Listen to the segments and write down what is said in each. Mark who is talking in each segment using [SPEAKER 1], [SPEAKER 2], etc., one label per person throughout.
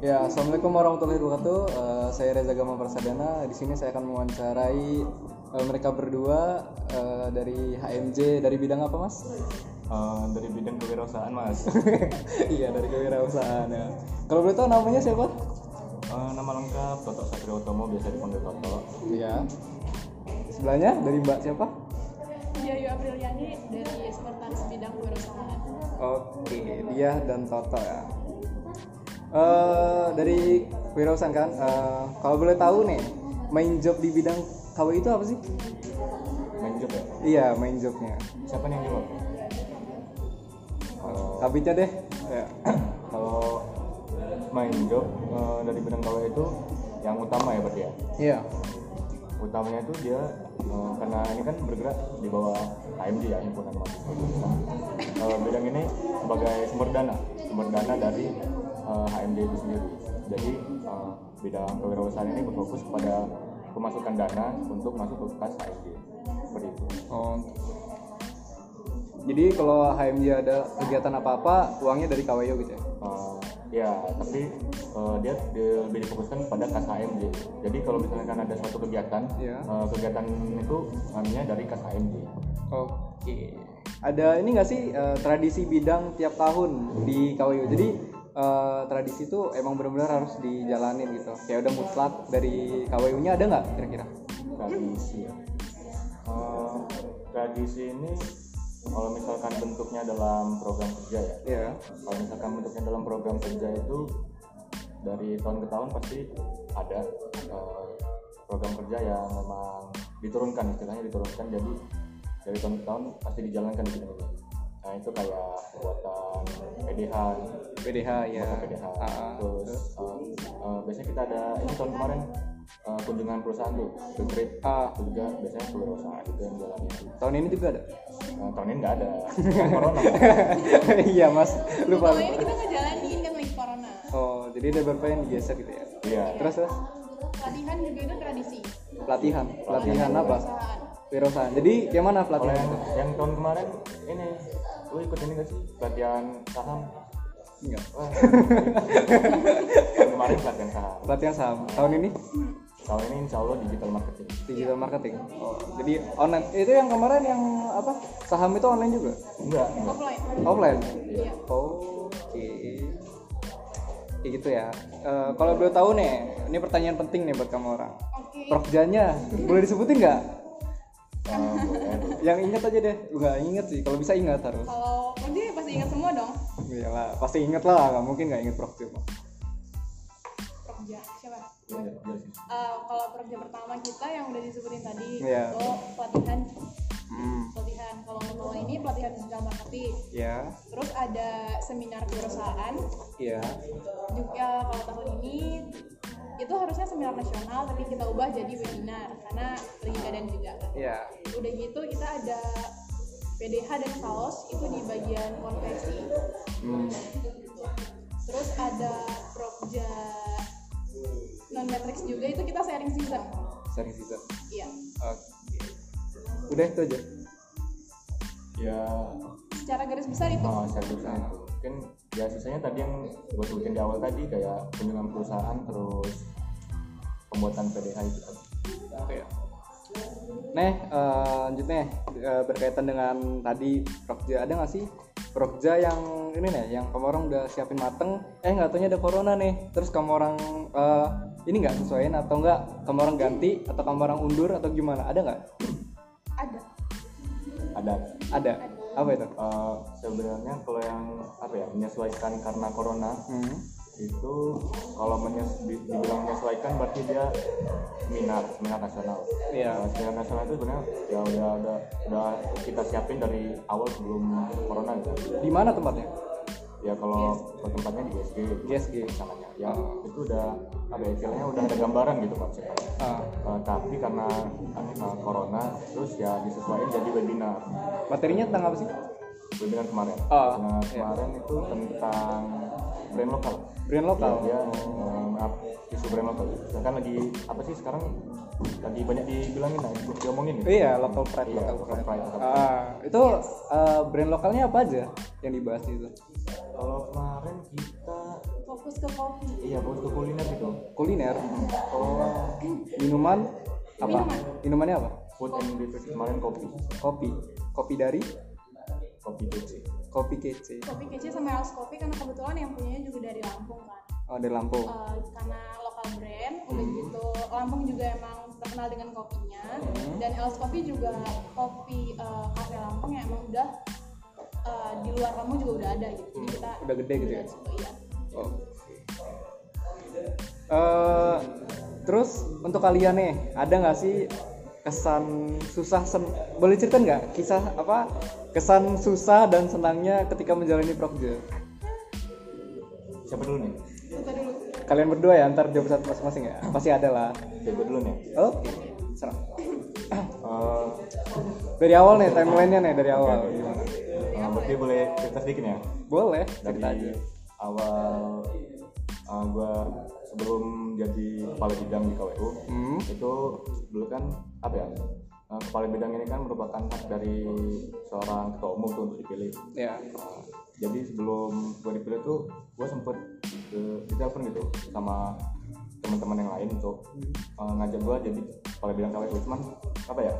[SPEAKER 1] Ya, assalamualaikum warahmatullahi wabarakatuh. Eh, saya Reza Gama Persadana. Di sini saya akan mewawancarai eh, mereka berdua eh, dari HMJ dari bidang apa, Mas?
[SPEAKER 2] Eh, dari bidang kewirausahaan mas
[SPEAKER 1] Iya, dari kewirausahaan ya. Kalau boleh tahu namanya siapa?
[SPEAKER 2] Eh, nama lengkap Toto Satrio Utomo biasa dipanggil Toto
[SPEAKER 1] Iya. Sebelahnya dari Mbak siapa?
[SPEAKER 3] Yayu Apriliani dari Spartans bidang kewirausahaan.
[SPEAKER 1] Oke, dia dan Toto ya. Eh, dari kewirausahaan kan, eh, kalau boleh tahu nih, main job di bidang KW itu apa sih?
[SPEAKER 2] main job ya
[SPEAKER 1] Iya, main jobnya.
[SPEAKER 2] siapa nih yang jawab kalau
[SPEAKER 1] Kabitnya deh. Ya.
[SPEAKER 2] kalau main job eh, dari bidang KW itu yang utama ya berarti ya
[SPEAKER 1] Iya.
[SPEAKER 2] utamanya itu dia eh, karena ini kan bergerak di bawah AMD ya himpunan mahasiswa Indonesia. Eh, bidang ini sebagai sumber dana sumber dana dari eh, HMD itu sendiri jadi eh, bidang kewirausahaan ini berfokus pada pemasukan dana untuk masuk ke kas HMD seperti itu
[SPEAKER 1] Oh. Jadi kalau HMJ ada kegiatan apa-apa, uangnya dari KWU gitu ya?
[SPEAKER 2] Eh, ya tapi eh, dia di- lebih difokuskan pada kas HMD jadi kalau misalkan ada suatu kegiatan
[SPEAKER 1] Iya.
[SPEAKER 2] eh, kegiatan itu namanya dari kas HMD
[SPEAKER 1] Oke. Ada ini nggak sih eh, tradisi bidang tiap tahun di KWU? Jadi eh, tradisi itu emang benar-benar harus dijalanin gitu. Kayak udah mutlak dari KWU-nya ada nggak kira-kira?
[SPEAKER 2] tradisi ya. Eh, tradisi ini kalau misalkan bentuknya dalam program kerja ya
[SPEAKER 1] Iya.
[SPEAKER 2] kalau misalkan bentuknya dalam program kerja itu dari tahun ke tahun pasti ada eh, program kerja yang memang diturunkan istilahnya diturunkan jadi dari tahun ke tahun pasti dijalankan di sini nah itu kayak pembuatan PDH
[SPEAKER 1] PDH ya.
[SPEAKER 2] pembuatan
[SPEAKER 1] Iya.
[SPEAKER 2] PDH
[SPEAKER 1] Ah,
[SPEAKER 2] terus eh, eh, biasanya kita ada ini tahun kemarin eh, kunjungan perusahaan tuh ke Grab
[SPEAKER 1] Ah,
[SPEAKER 2] itu juga biasanya kewirausahaan itu yang jalan itu
[SPEAKER 1] tahun ini juga ada.
[SPEAKER 2] nah, tahun ini nggak ada corona
[SPEAKER 1] Iya mas, lupa
[SPEAKER 3] Kalau ini
[SPEAKER 1] lupa.
[SPEAKER 3] kita ngejalanin kan lagi corona.
[SPEAKER 1] Oh, jadi ada beberapa yang digeser gitu ya?
[SPEAKER 2] iya
[SPEAKER 1] Terus terus
[SPEAKER 3] Latihan juga itu tradisi.
[SPEAKER 1] pelatihan, pelatihan apa?
[SPEAKER 3] Perusahaan.
[SPEAKER 1] Wirausahaan. Jadi kayak mana
[SPEAKER 2] kalau
[SPEAKER 1] pelatihan?
[SPEAKER 2] yang yang tahun kemarin ini lu ikut ini nggak sih pelatihan saham
[SPEAKER 1] Enggak.
[SPEAKER 2] Wah, tahun kemarin pelatihan saham
[SPEAKER 1] Pelatihan saham. Tahun ini
[SPEAKER 2] tahun ini insya Allah digital marketing
[SPEAKER 1] digital marketing. Oh, jadi online. Itu yang kemarin yang apa? Saham itu online juga?
[SPEAKER 2] enggak enggak.
[SPEAKER 3] Offline.
[SPEAKER 1] Offline.
[SPEAKER 3] Iya.
[SPEAKER 1] Oh, oke. Kayak gitu ya. Eh, kalau belum tahu nih, ini pertanyaan penting nih buat kamu orang.
[SPEAKER 3] Oke.
[SPEAKER 1] Profjanya boleh disebutin nggak?
[SPEAKER 2] Eh, boleh.
[SPEAKER 1] Yang ingat aja deh. Nggak inget sih. Kalau bisa ingat harus.
[SPEAKER 3] Kalau dia pasti ingat semua dong.
[SPEAKER 1] Iyalah, pasti inget lah. Nggak mungkin nggak inget profjo.
[SPEAKER 3] Prokja siapa?
[SPEAKER 2] Iya, iya, iya sih.
[SPEAKER 3] Eh, kalau prokja pertama kita yang udah disebutin tadi
[SPEAKER 1] Iya.
[SPEAKER 3] itu pelatihan
[SPEAKER 1] Hmm.
[SPEAKER 3] pelatihan kalau menurut ini pelatihan digital marketing
[SPEAKER 1] Ya.
[SPEAKER 3] terus ada seminar perusahaan
[SPEAKER 1] Iya.
[SPEAKER 3] juga kalau tahun ini itu harusnya seminar nasional tapi kita ubah jadi webinar karena lagi keadaan juga
[SPEAKER 1] Iya.
[SPEAKER 3] udah gitu kita ada PDH dan saus itu di bagian konveksi
[SPEAKER 1] Hmm.
[SPEAKER 3] terus ada prokja non matrix juga itu kita sharing season
[SPEAKER 1] Sharing season.
[SPEAKER 3] iya
[SPEAKER 1] Oke. Udah itu aja.
[SPEAKER 2] ya
[SPEAKER 3] secara garis besar itu
[SPEAKER 2] eh, saya jurusan itu mungkin ya sisanya tadi yang gue sebutin di awal tadi kayak kunjungan perusahaan terus pembuatan PDH itu tadi
[SPEAKER 1] Oke. Neh, eh, lanjut Neh Eh, berkaitan dengan tadi Prokja ada nggak sih Prokja yang ini nih, yang kamu orang udah siapin mateng, eh nggak taunya ada corona nih, terus kamu orang eh, ini nggak sesuaiin atau nggak kamu orang ganti atau kamu orang undur atau gimana? Ada nggak?
[SPEAKER 3] ada
[SPEAKER 2] ada
[SPEAKER 1] Ada. Apa itu?
[SPEAKER 2] Eh, sebenarnya kalau yang apa ya menyesuaikan karena corona
[SPEAKER 1] Hmm.
[SPEAKER 2] itu kalau menyes- di- dibilang menyesuaikan berarti dia minat minat nasional.
[SPEAKER 1] Iya.
[SPEAKER 2] Nah, seminar nasional itu sebenarnya ya udah udah udah kita siapin dari awal sebelum corona gitu.
[SPEAKER 1] Di mana tempatnya?
[SPEAKER 2] Ya kalau kalau tempatnya di GSG
[SPEAKER 1] GSG.
[SPEAKER 2] gitu. misalnya, ya itu udah apa ya istilahnya udah ada gambaran gitu konsepnya.
[SPEAKER 1] Ah,
[SPEAKER 2] Eh, tapi karena eh, corona terus ya disesuaikan jadi webinar.
[SPEAKER 1] materinya tentang apa sih?
[SPEAKER 2] webinar kan kemarin.
[SPEAKER 1] Oh,
[SPEAKER 2] Webinar
[SPEAKER 1] iya.
[SPEAKER 2] kemarin itu tentang brand lokal.
[SPEAKER 1] Brand lokal.
[SPEAKER 2] Dia, dia um, up- isu brand lokal. Kan lagi apa sih sekarang lagi banyak dibilangin lah, itu diomongin. ya?
[SPEAKER 1] Iya, local pride,
[SPEAKER 2] Iya,
[SPEAKER 1] local pride.
[SPEAKER 2] local pride.
[SPEAKER 1] Ah, itu eh, brand lokalnya apa aja yang dibahas itu?
[SPEAKER 2] Kalau kemarin kita
[SPEAKER 3] fokus fokus ke kopi
[SPEAKER 2] Iya, fokus ke kuliner gitu.
[SPEAKER 1] kuliner oh minuman apa minumannya apa
[SPEAKER 2] Food and beverage kemarin kopi,
[SPEAKER 1] kopi kopi dari
[SPEAKER 2] kopi DC.
[SPEAKER 1] kopi kece
[SPEAKER 3] kopi kece sama House Kopi karena kebetulan yang punyanya juga dari Lampung kan
[SPEAKER 1] oh, dari Lampung
[SPEAKER 3] Eh, karena lokal brand udah
[SPEAKER 1] Hmm.
[SPEAKER 3] gitu Lampung juga emang terkenal dengan kopinya
[SPEAKER 1] Hmm.
[SPEAKER 3] dan Els Kopi juga kopi eh, kafe Lampung yang emang udah eh, di luar Lampung juga udah ada gitu jadi kita
[SPEAKER 1] udah gede gitu ya?
[SPEAKER 3] coba, iya.
[SPEAKER 1] oh. Eh, terus untuk kalian nih ada nggak sih kesan susah sen boleh cerita nggak kisah apa kesan susah dan senangnya ketika menjalani prokja
[SPEAKER 2] Siapa dulu nih?
[SPEAKER 3] Kita dulu
[SPEAKER 1] kalian berdua ya antar jawab satu masing-masing ya pasti ada lah
[SPEAKER 2] Siapa dulu nih?
[SPEAKER 1] oke serang
[SPEAKER 2] Eh,
[SPEAKER 1] Oh. dari awal nih timelinenya nih dari awal
[SPEAKER 2] eh, berarti boleh cerita sedikit ya?
[SPEAKER 1] boleh cerita aja
[SPEAKER 2] Dari awal eh, gua sebelum jadi kepala bidang di KWU,
[SPEAKER 1] hmm
[SPEAKER 2] itu dulu kan apa ya? eh, kepala bidang ini kan merupakan hak dari seorang ketua umum tuh untuk dipilih.
[SPEAKER 1] ya
[SPEAKER 2] jadi sebelum gue dipilih tuh gue sempet eh, ditelepon gitu sama teman-teman yang lain untuk eh, ngajak gue jadi kalau bilang KWU cuman apa ya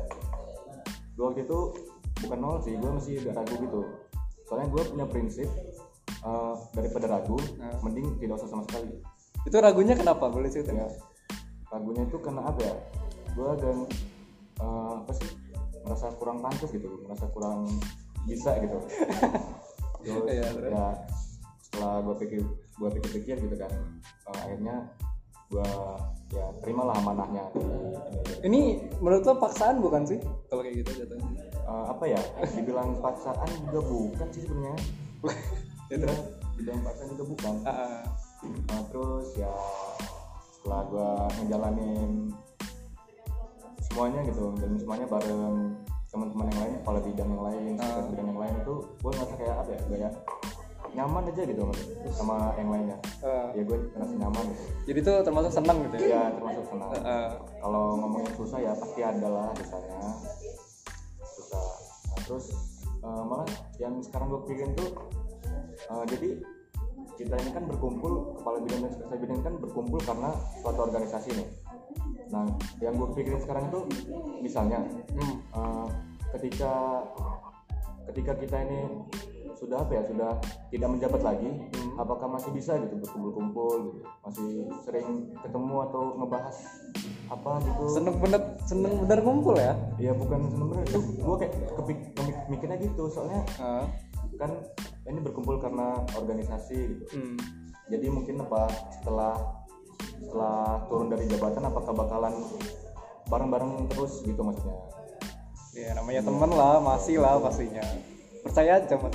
[SPEAKER 2] gue waktu itu bukan nol sih gue masih agak ragu gitu soalnya gue punya prinsip eh, daripada ragu
[SPEAKER 1] Nah.
[SPEAKER 2] mending tidak usah sama sekali
[SPEAKER 1] itu ragunya kenapa boleh cerita
[SPEAKER 2] ya
[SPEAKER 1] nggak
[SPEAKER 2] lagunya itu karena apa ya gue dan eh, apa sih merasa kurang pantas gitu merasa kurang bisa gitu terus
[SPEAKER 1] Iya, terus?
[SPEAKER 2] ya setelah gue pikir gue pikir-pikir gitu kan eh, akhirnya gue ya terimalah amanahnya
[SPEAKER 1] ini menurut lo paksaan bukan sih kalau kayak gitu jatuhnya
[SPEAKER 2] Eh, apa ya dibilang paksaan juga bukan sih sebenarnya
[SPEAKER 1] ya terus
[SPEAKER 2] dibilang paksaan juga bukan
[SPEAKER 1] Ah, ah.
[SPEAKER 2] Nah, terus ya setelah gua ngejalanin semuanya gitu, dan semuanya bareng teman-teman yang lain, kepala bidang yang lain, kepala bidang yang lain itu gue ngerasa kayak apa ya, kayak nyaman aja gitu sama yang lainnya.
[SPEAKER 1] Eh,
[SPEAKER 2] Ya gue ngerasa nyaman gitu.
[SPEAKER 1] jadi tuh termasuk senang gitu ya
[SPEAKER 2] Ya termasuk senang.
[SPEAKER 1] Eh, eh.
[SPEAKER 2] Kalau ngomongin susah ya pasti ada lah misalnya susah. Nah, terus eh, malah yang sekarang gue pikirin tuh eh, jadi kita ini kan berkumpul kepala bidang dan sekretaris bidang kan berkumpul karena suatu organisasi nih. Nah yang gue pikirin sekarang itu misalnya
[SPEAKER 1] Hmm.
[SPEAKER 2] eh, ketika ketika kita ini sudah apa ya sudah tidak menjabat lagi apakah masih bisa gitu berkumpul-kumpul gitu masih sering ketemu atau ngebahas apa gitu
[SPEAKER 1] seneng bener seneng bener ngumpul ya
[SPEAKER 2] ya bukan sebenarnya itu gue kayak kepik kemik- mikirnya gitu soalnya
[SPEAKER 1] Ah.
[SPEAKER 2] kan ini berkumpul karena organisasi gitu
[SPEAKER 1] Hmm.
[SPEAKER 2] jadi mungkin apa setelah setelah turun dari jabatan apakah bakalan bareng-bareng terus gitu maksudnya
[SPEAKER 1] ya namanya temen lah masih lah pastinya percaya aja mas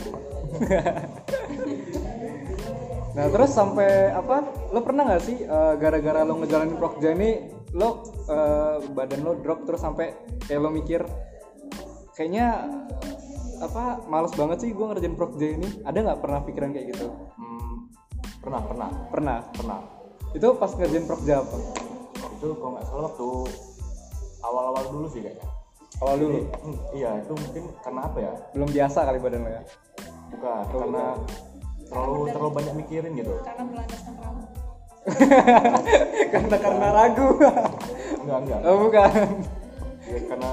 [SPEAKER 1] nah terus sampai apa lo pernah nggak sih eh, gara-gara lo ngejalanin prokja ini lo eh, badan lo drop terus sampai kayak lo mikir kayaknya eh, apa males banget sih gue ngerjain prokja ini ada nggak pernah pikiran kayak gitu
[SPEAKER 2] Hmm, pernah pernah
[SPEAKER 1] pernah
[SPEAKER 2] pernah
[SPEAKER 1] itu pas ngerjain prokja apa
[SPEAKER 2] itu kalau nggak salah waktu awal-awal dulu sih kayaknya
[SPEAKER 1] awal dulu
[SPEAKER 2] Hmm, iya itu mungkin karena apa ya
[SPEAKER 1] belum biasa kali badan lo ya
[SPEAKER 2] bukan karena terlalu terlalu banyak mikirin gitu
[SPEAKER 3] karena berlandaskan kamu
[SPEAKER 1] karena karena ragu
[SPEAKER 2] enggak enggak
[SPEAKER 1] oh, bukan
[SPEAKER 2] Ya, karena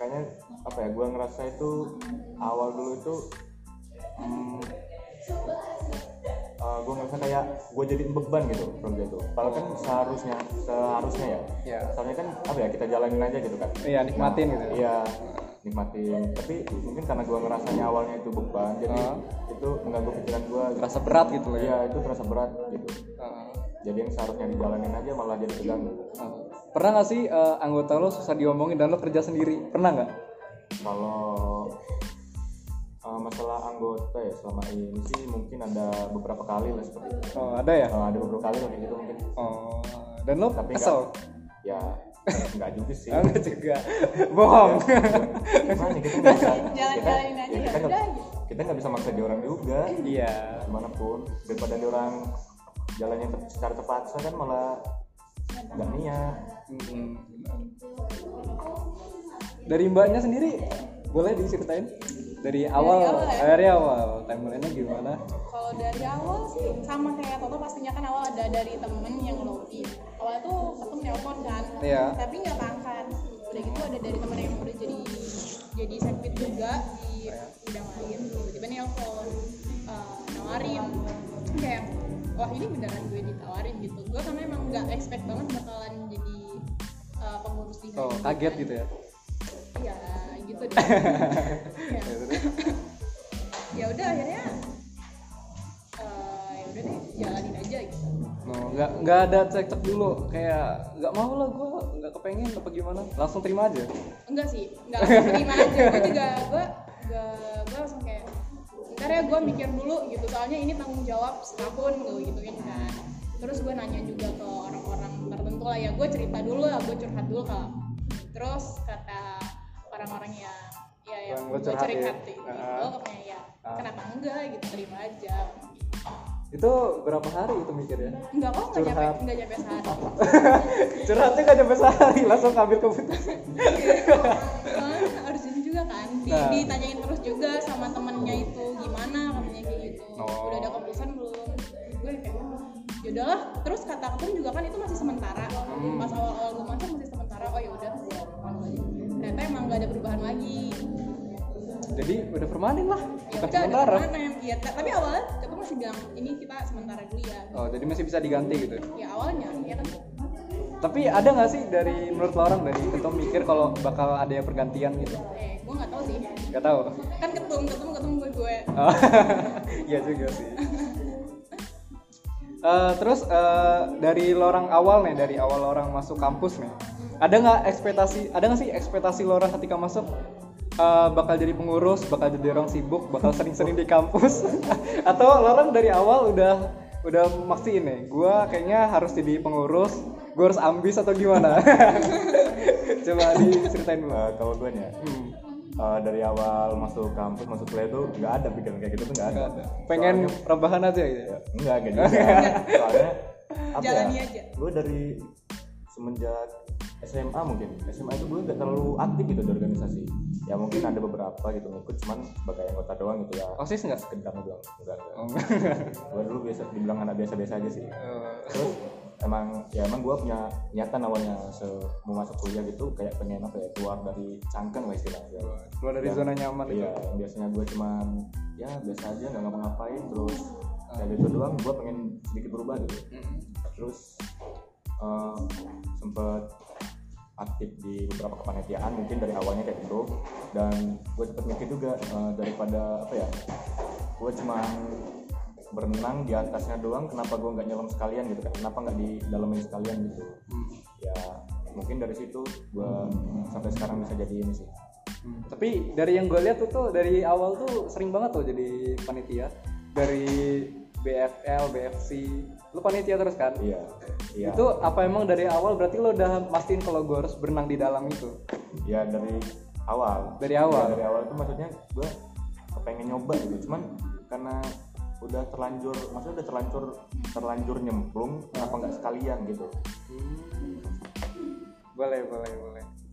[SPEAKER 2] kayaknya apa ya gua ngerasa itu awal dulu itu hmm, eh, gua ngerasa kayak gue jadi beban gitu program itu padahal kan seharusnya seharusnya ya
[SPEAKER 1] Iya.
[SPEAKER 2] seharusnya kan apa ya kita jalanin aja gitu kan
[SPEAKER 1] Iya, nikmatin gitu.
[SPEAKER 2] iya nikmatin tapi mungkin karena gua ngerasanya awalnya itu beban jadi
[SPEAKER 1] Ah.
[SPEAKER 2] itu mengganggu pikiran gua gitu.
[SPEAKER 1] Terasa berat gitu loh ya.
[SPEAKER 2] iya itu terasa berat gitu
[SPEAKER 1] Heeh.
[SPEAKER 2] jadi yang seharusnya dijalanin aja malah jadi keganggu
[SPEAKER 1] Heeh. pernah nggak sih eh, anggota lo susah diomongin dan lo kerja sendiri? Pernah nggak?
[SPEAKER 2] kalau eh, masalah anggota ya selama ini sih mungkin ada beberapa kali lah seperti itu
[SPEAKER 1] Oh, ada ya?
[SPEAKER 2] Eh, ada beberapa kali lah kayak gitu mungkin
[SPEAKER 1] Oh, dan lo
[SPEAKER 2] Tapi
[SPEAKER 1] kesel?
[SPEAKER 2] ya nggak juga sih
[SPEAKER 1] Ah, Nggak juga. Bohong.
[SPEAKER 2] gimana kita nggak bisa
[SPEAKER 3] Jalan-jalanin
[SPEAKER 2] kita-
[SPEAKER 3] aja,
[SPEAKER 2] ya, kita
[SPEAKER 3] ya
[SPEAKER 2] nggak
[SPEAKER 3] udah.
[SPEAKER 2] kita nggak bisa maksa dia orang juga
[SPEAKER 1] Iya.
[SPEAKER 2] gimana pun daripada dia orang jalannya ter- secara terpaksa kan malah nggak niat
[SPEAKER 1] Mm-mm. Dari mbaknya sendiri boleh diceritain dari awal
[SPEAKER 3] awal ya?
[SPEAKER 1] dari awal timelinenya gimana?
[SPEAKER 3] kalau kalau dari awal sih sama kayak Toto pastinya kan awal ada dari temen yang lobby awal tuh ketemu nelpon kan
[SPEAKER 1] Iya.
[SPEAKER 3] tapi nggak angkat udah gitu ada dari temen yang udah jadi jadi sempit juga di bidang lain tiba-tiba nelpon eh, nawarin kayak wah ini beneran gue ditawarin gitu gue karena emang nggak expect banget bakalan jadi eh, pengurus di
[SPEAKER 1] Oh,
[SPEAKER 3] HMD
[SPEAKER 1] kaget
[SPEAKER 3] kan.
[SPEAKER 1] gitu ya.
[SPEAKER 3] ya gitu deh ya.
[SPEAKER 1] Ya, terus?
[SPEAKER 3] ya udah akhirnya eh, ya udah deh jalanin aja gitu
[SPEAKER 1] No, nggak nggak ada cekcok dulu kayak nggak mau lah gue nggak kepengen apa gimana langsung terima aja
[SPEAKER 3] enggak sih enggak langsung terima aja gue juga gue gue gue langsung kayak ntar ya gue mikir dulu gitu soalnya ini tanggung jawab setahun gue gituin kan terus gue nanya juga ke orang-orang tertentu lah ya gue cerita dulu lah gue curhat dulu kalau terus kata orang-orang yang ya yang
[SPEAKER 1] Yang lo
[SPEAKER 3] gue
[SPEAKER 1] curhatin.
[SPEAKER 3] curhati gitu
[SPEAKER 1] Ah.
[SPEAKER 3] katanya ya
[SPEAKER 1] Ah.
[SPEAKER 3] kenapa enggak gitu terima aja
[SPEAKER 1] itu berapa hari itu mikirnya
[SPEAKER 3] enggak kok enggak nyampe
[SPEAKER 1] Curhat.
[SPEAKER 3] enggak nyampe sehari
[SPEAKER 1] curhatnya nggak nyampe sehari langsung ngambil keputusan
[SPEAKER 3] Soalnya harus ini juga kan di,
[SPEAKER 1] Nah.
[SPEAKER 3] ditanyain terus juga sama temennya itu gimana katanya kayak gitu
[SPEAKER 1] Oh.
[SPEAKER 3] udah ada keputusan belum gue kayak ya udahlah terus kata ketum juga kan itu masih sementara
[SPEAKER 1] Hmm.
[SPEAKER 3] pas awal-awal gue masuk masih sementara oh ya udah ternyata emang gak ada perubahan lagi
[SPEAKER 1] jadi udah permanen lah
[SPEAKER 3] ya
[SPEAKER 1] bukan
[SPEAKER 3] udah ada
[SPEAKER 1] sementara
[SPEAKER 3] perubahan ya, ta- tapi awalnya ketum masih bilang ini kita sementara dulu ya
[SPEAKER 1] oh jadi masih bisa diganti gitu
[SPEAKER 3] ya awalnya ya kan
[SPEAKER 1] tapi ada nggak sih dari menurut lo orang dari ketum mikir kalau bakal ada pergantian gitu
[SPEAKER 3] eh gue nggak tahu sih
[SPEAKER 1] nggak tahu
[SPEAKER 3] kan ketum ketum ketum gue gue
[SPEAKER 1] Oh, Iya juga sih. Eh, terus eh, dari lorang awal nih, dari awal lorang masuk kampus nih, ada nggak ekspektasi, ada nggak sih ekspektasi lorang ketika masuk eh, bakal jadi pengurus, bakal jadi orang sibuk, bakal sering-sering di kampus, atau lorang dari awal udah udah maksiin nih, gue kayaknya harus jadi pengurus, gue harus ambis atau gimana? Coba diceritain dulu.
[SPEAKER 2] Eh, kalau gue nih ya,
[SPEAKER 1] Hmm.
[SPEAKER 2] eh, dari awal masuk kampus masuk kuliah tuh nggak ada pikiran kayak gitu tuh nggak ada.
[SPEAKER 1] Pengen rebahan aja gitu. ya?
[SPEAKER 2] Enggak, enggak juga. gitu. Soalnya apa
[SPEAKER 3] Jalani
[SPEAKER 2] ya?
[SPEAKER 3] aja.
[SPEAKER 2] Gue dari semenjak SMA mungkin. SMA itu gue nggak terlalu aktif gitu di organisasi. Ya mungkin ada beberapa gitu ngikut cuman sebagai anggota doang gitu ya.
[SPEAKER 1] Osis nggak?
[SPEAKER 2] Sekedar doang. Enggak, enggak.
[SPEAKER 1] Oh.
[SPEAKER 2] Gue dulu biasa dibilang anak biasa-biasa aja sih.
[SPEAKER 1] Eh,
[SPEAKER 2] Terus emang ya emang gue punya niatan awalnya se mau masuk kuliah gitu kayak pengen apa ya keluar dari cangkang lah istilahnya
[SPEAKER 1] keluar dari
[SPEAKER 2] Dan-
[SPEAKER 1] zona nyaman
[SPEAKER 2] iya
[SPEAKER 1] itu
[SPEAKER 2] yang biasanya gue cuman ya biasa aja nggak ngapa-ngapain terus dari itu doang gue pengen sedikit berubah gitu terus eh, sempet aktif di beberapa kepanitiaan mungkin dari awalnya kayak gitu dan gue sempet mikir juga eh, daripada apa ya gue cuman berenang di atasnya doang kenapa gue nggak nyelam sekalian gitu kan kenapa nggak di dalamin sekalian gitu ya mungkin dari situ gue sampai sekarang bisa jadi ini sih
[SPEAKER 1] Hmm. tapi dari yang gue lihat tuh, tuh dari awal tuh sering banget tuh jadi panitia dari BFL BFC lu panitia terus kan
[SPEAKER 2] iya iya
[SPEAKER 1] itu apa emang dari awal berarti lo udah mastiin kalau gue harus berenang di dalam itu
[SPEAKER 2] ya dari awal
[SPEAKER 1] Dari awal?
[SPEAKER 2] Ya, dari awal itu maksudnya gue pengen nyoba gitu cuman karena udah terlanjur maksudnya udah terlanjur terlanjur nyemplung kenapa nggak sekalian gitu
[SPEAKER 1] boleh boleh boleh